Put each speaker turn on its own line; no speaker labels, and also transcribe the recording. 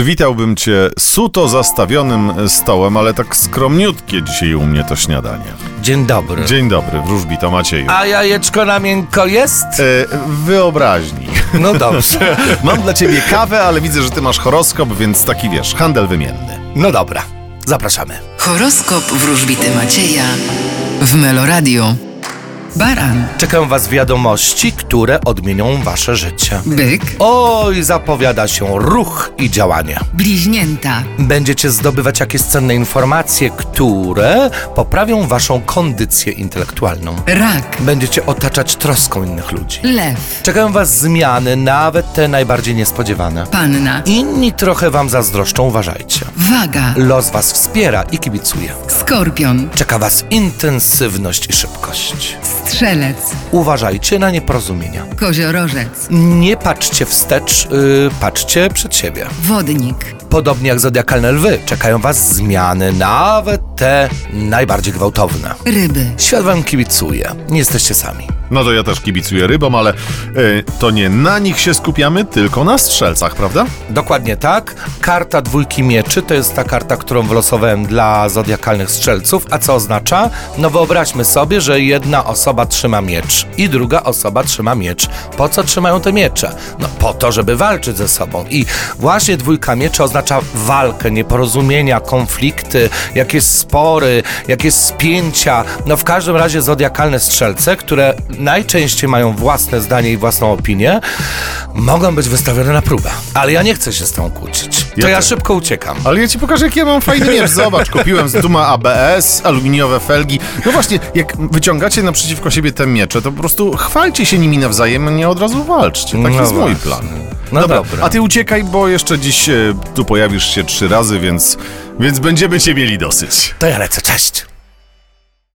Przywitałbym cię suto zastawionym stołem, ale tak skromniutkie dzisiaj u mnie to śniadanie.
Dzień dobry.
Dzień dobry, wróżbito Macieju.
A jajeczko na miękko jest?
E, wyobraźni.
No dobrze.
Mam dla ciebie kawę, ale widzę, że ty masz horoskop, więc taki wiesz, handel wymienny.
No dobra. Zapraszamy.
Horoskop wróżbity Macieja w Meloradio. Baran,
Czekam was wiadomości, które odmienią wasze życie.
byk,
Oj, zapowiada się ruch i działanie.
bliźnięta,
Będziecie zdobywać jakieś cenne informacje, które poprawią waszą kondycję intelektualną.
rak,
Będziecie otaczać troską innych ludzi.
lew,
Czekają was zmiany, nawet te najbardziej niespodziewane.
panna,
Inni trochę wam zazdroszczą, uważajcie.
waga,
Los was wspiera i kibicuje.
skorpion,
Czeka Was intensywność i szybkość.
strzelec,
Uważajcie na nieporozumienia.
koziorożec,
Nie patrzcie wstecz, yy, patrzcie przed siebie.
wodnik,
Podobnie jak zodiakalne lwy, czekają Was zmiany, nawet te najbardziej gwałtowne.
ryby.
Świat Wam kibicuje, nie jesteście sami.
No to ja też kibicuję rybom, ale e, to nie na nich się skupiamy, tylko na strzelcach, prawda?
Dokładnie tak. Karta dwójki mieczy to jest ta karta, którą wylosowałem dla zodiakalnych strzelców. A co oznacza? No wyobraźmy sobie, że jedna osoba trzyma miecz i druga osoba trzyma miecz. Po co trzymają te miecze? No po to, żeby walczyć ze sobą. I właśnie dwójka mieczy oznacza walkę, nieporozumienia, konflikty, jakieś spory, jakieś spięcia. No w każdym razie zodiakalne strzelce, które najczęściej mają własne zdanie i własną opinię, mogą być wystawione na próbę. Ale ja nie chcę się z tą kłócić. To
Ja
ja,
też.
szybko uciekam.
Ale ja ci pokażę, jak ja mam fajny miecz. Zobacz, kupiłem z Duma ABS, aluminiowe felgi. No właśnie, jak wyciągacie naprzeciwko siebie te miecze, to po prostu chwalcie się nimi nawzajem, a nie od razu walczcie. Taki
No
jest mój
właśnie.
plan.
No
Dobra,
dobra.
a ty uciekaj, bo jeszcze dziś e, tu pojawisz się trzy razy, więc, więc będziemy cię mieli dosyć.
To ja lecę, cześć.